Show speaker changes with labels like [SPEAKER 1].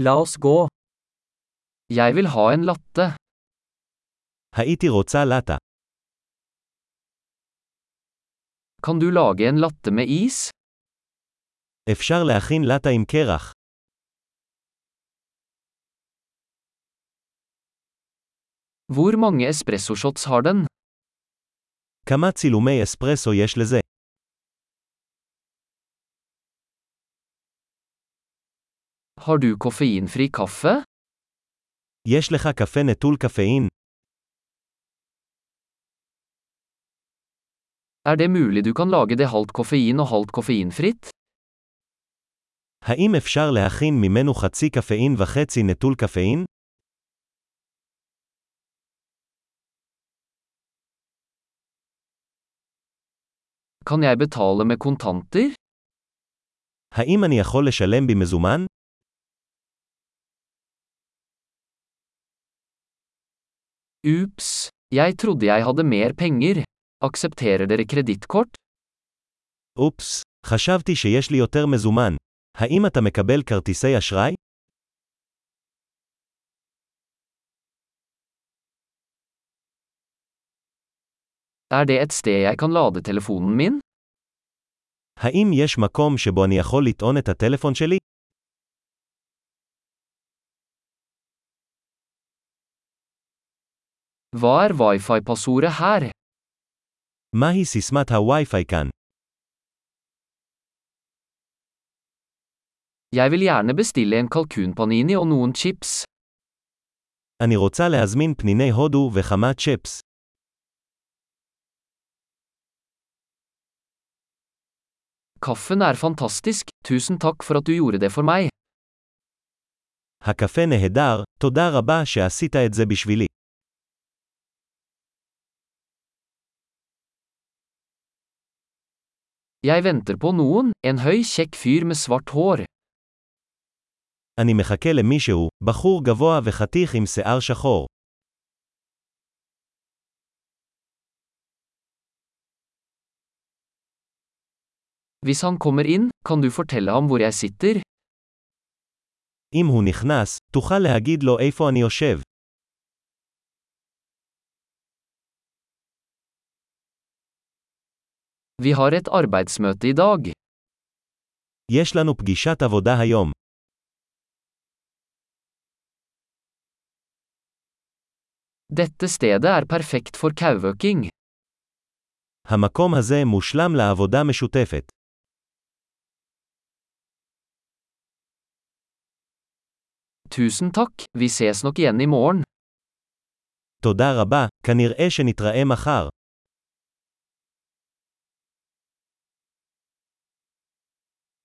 [SPEAKER 1] La oss gå. Jeg vil ha en latte.
[SPEAKER 2] הייתי רוצה לטה.
[SPEAKER 1] Kan du lage en latte med is?
[SPEAKER 2] אפשר להכין לטה עם קרח.
[SPEAKER 1] Hvor mange espressoshots har den?
[SPEAKER 2] כמה צילומי אספרסו יש לזה?
[SPEAKER 1] Har du koffeinfri kaffe?
[SPEAKER 2] יש לך קפה נטול קפאין?
[SPEAKER 1] Er det mulig du kan lage det halvt koffein og halvt koffeinfritt?
[SPEAKER 2] האם אפשר להכין ממנו חצי קפאין וחצי נטול קפאין?
[SPEAKER 1] Kan jeg betale med kontanter?
[SPEAKER 2] האם אני יכול לשלם במזומן?
[SPEAKER 1] Ups, jeg trodde jeg hadde mer penger. Aksepterer dere kredittkort?
[SPEAKER 2] אופס, חשבתי שיש לי יותר מזומן. האם אתה מקבל כרטיסי אשראי?
[SPEAKER 1] Er det et sted jeg kan lade telefonen min?
[SPEAKER 2] האם יש מקום שבו אני יכול לטעון את הטלפון שלי?
[SPEAKER 1] Hva er wifi-passordet her?
[SPEAKER 2] מהי סיסמת הווי-פיי כאן?
[SPEAKER 1] Jeg vil gjerne bestille en kalkunpanini og noen chips.
[SPEAKER 2] אני רוצה להזמין פניני הודו וכמה צ'פס.
[SPEAKER 1] Kaffen er fantastisk, tusen takk for at du gjorde det for meg.
[SPEAKER 2] הקפה נהדר, תודה רבה שעשית את זה בשבילי.
[SPEAKER 1] Jeg venter på noen, en høy, kjekk fyr med svart hår.
[SPEAKER 2] אני מחכה למישהו, בחור גבוה וחתיך עם שיער שחור.
[SPEAKER 1] Hvis han kommer inn, kan du fortelle ham hvor jeg sitter?
[SPEAKER 2] אם הוא נכנס, תוכל להגיד לו איפה אני יושב.
[SPEAKER 1] Vi har et arbeidsmøte i dag.
[SPEAKER 2] יש לנו פגישת עבודה היום.
[SPEAKER 1] Dette stedet er perfekt for kauøking.
[SPEAKER 2] המקום הזה מושלם לעבודה משותפת.
[SPEAKER 1] Tusen takk, vi ses nok igjen i morgen.
[SPEAKER 2] תודה רבה, כנראה שנתראה מחר.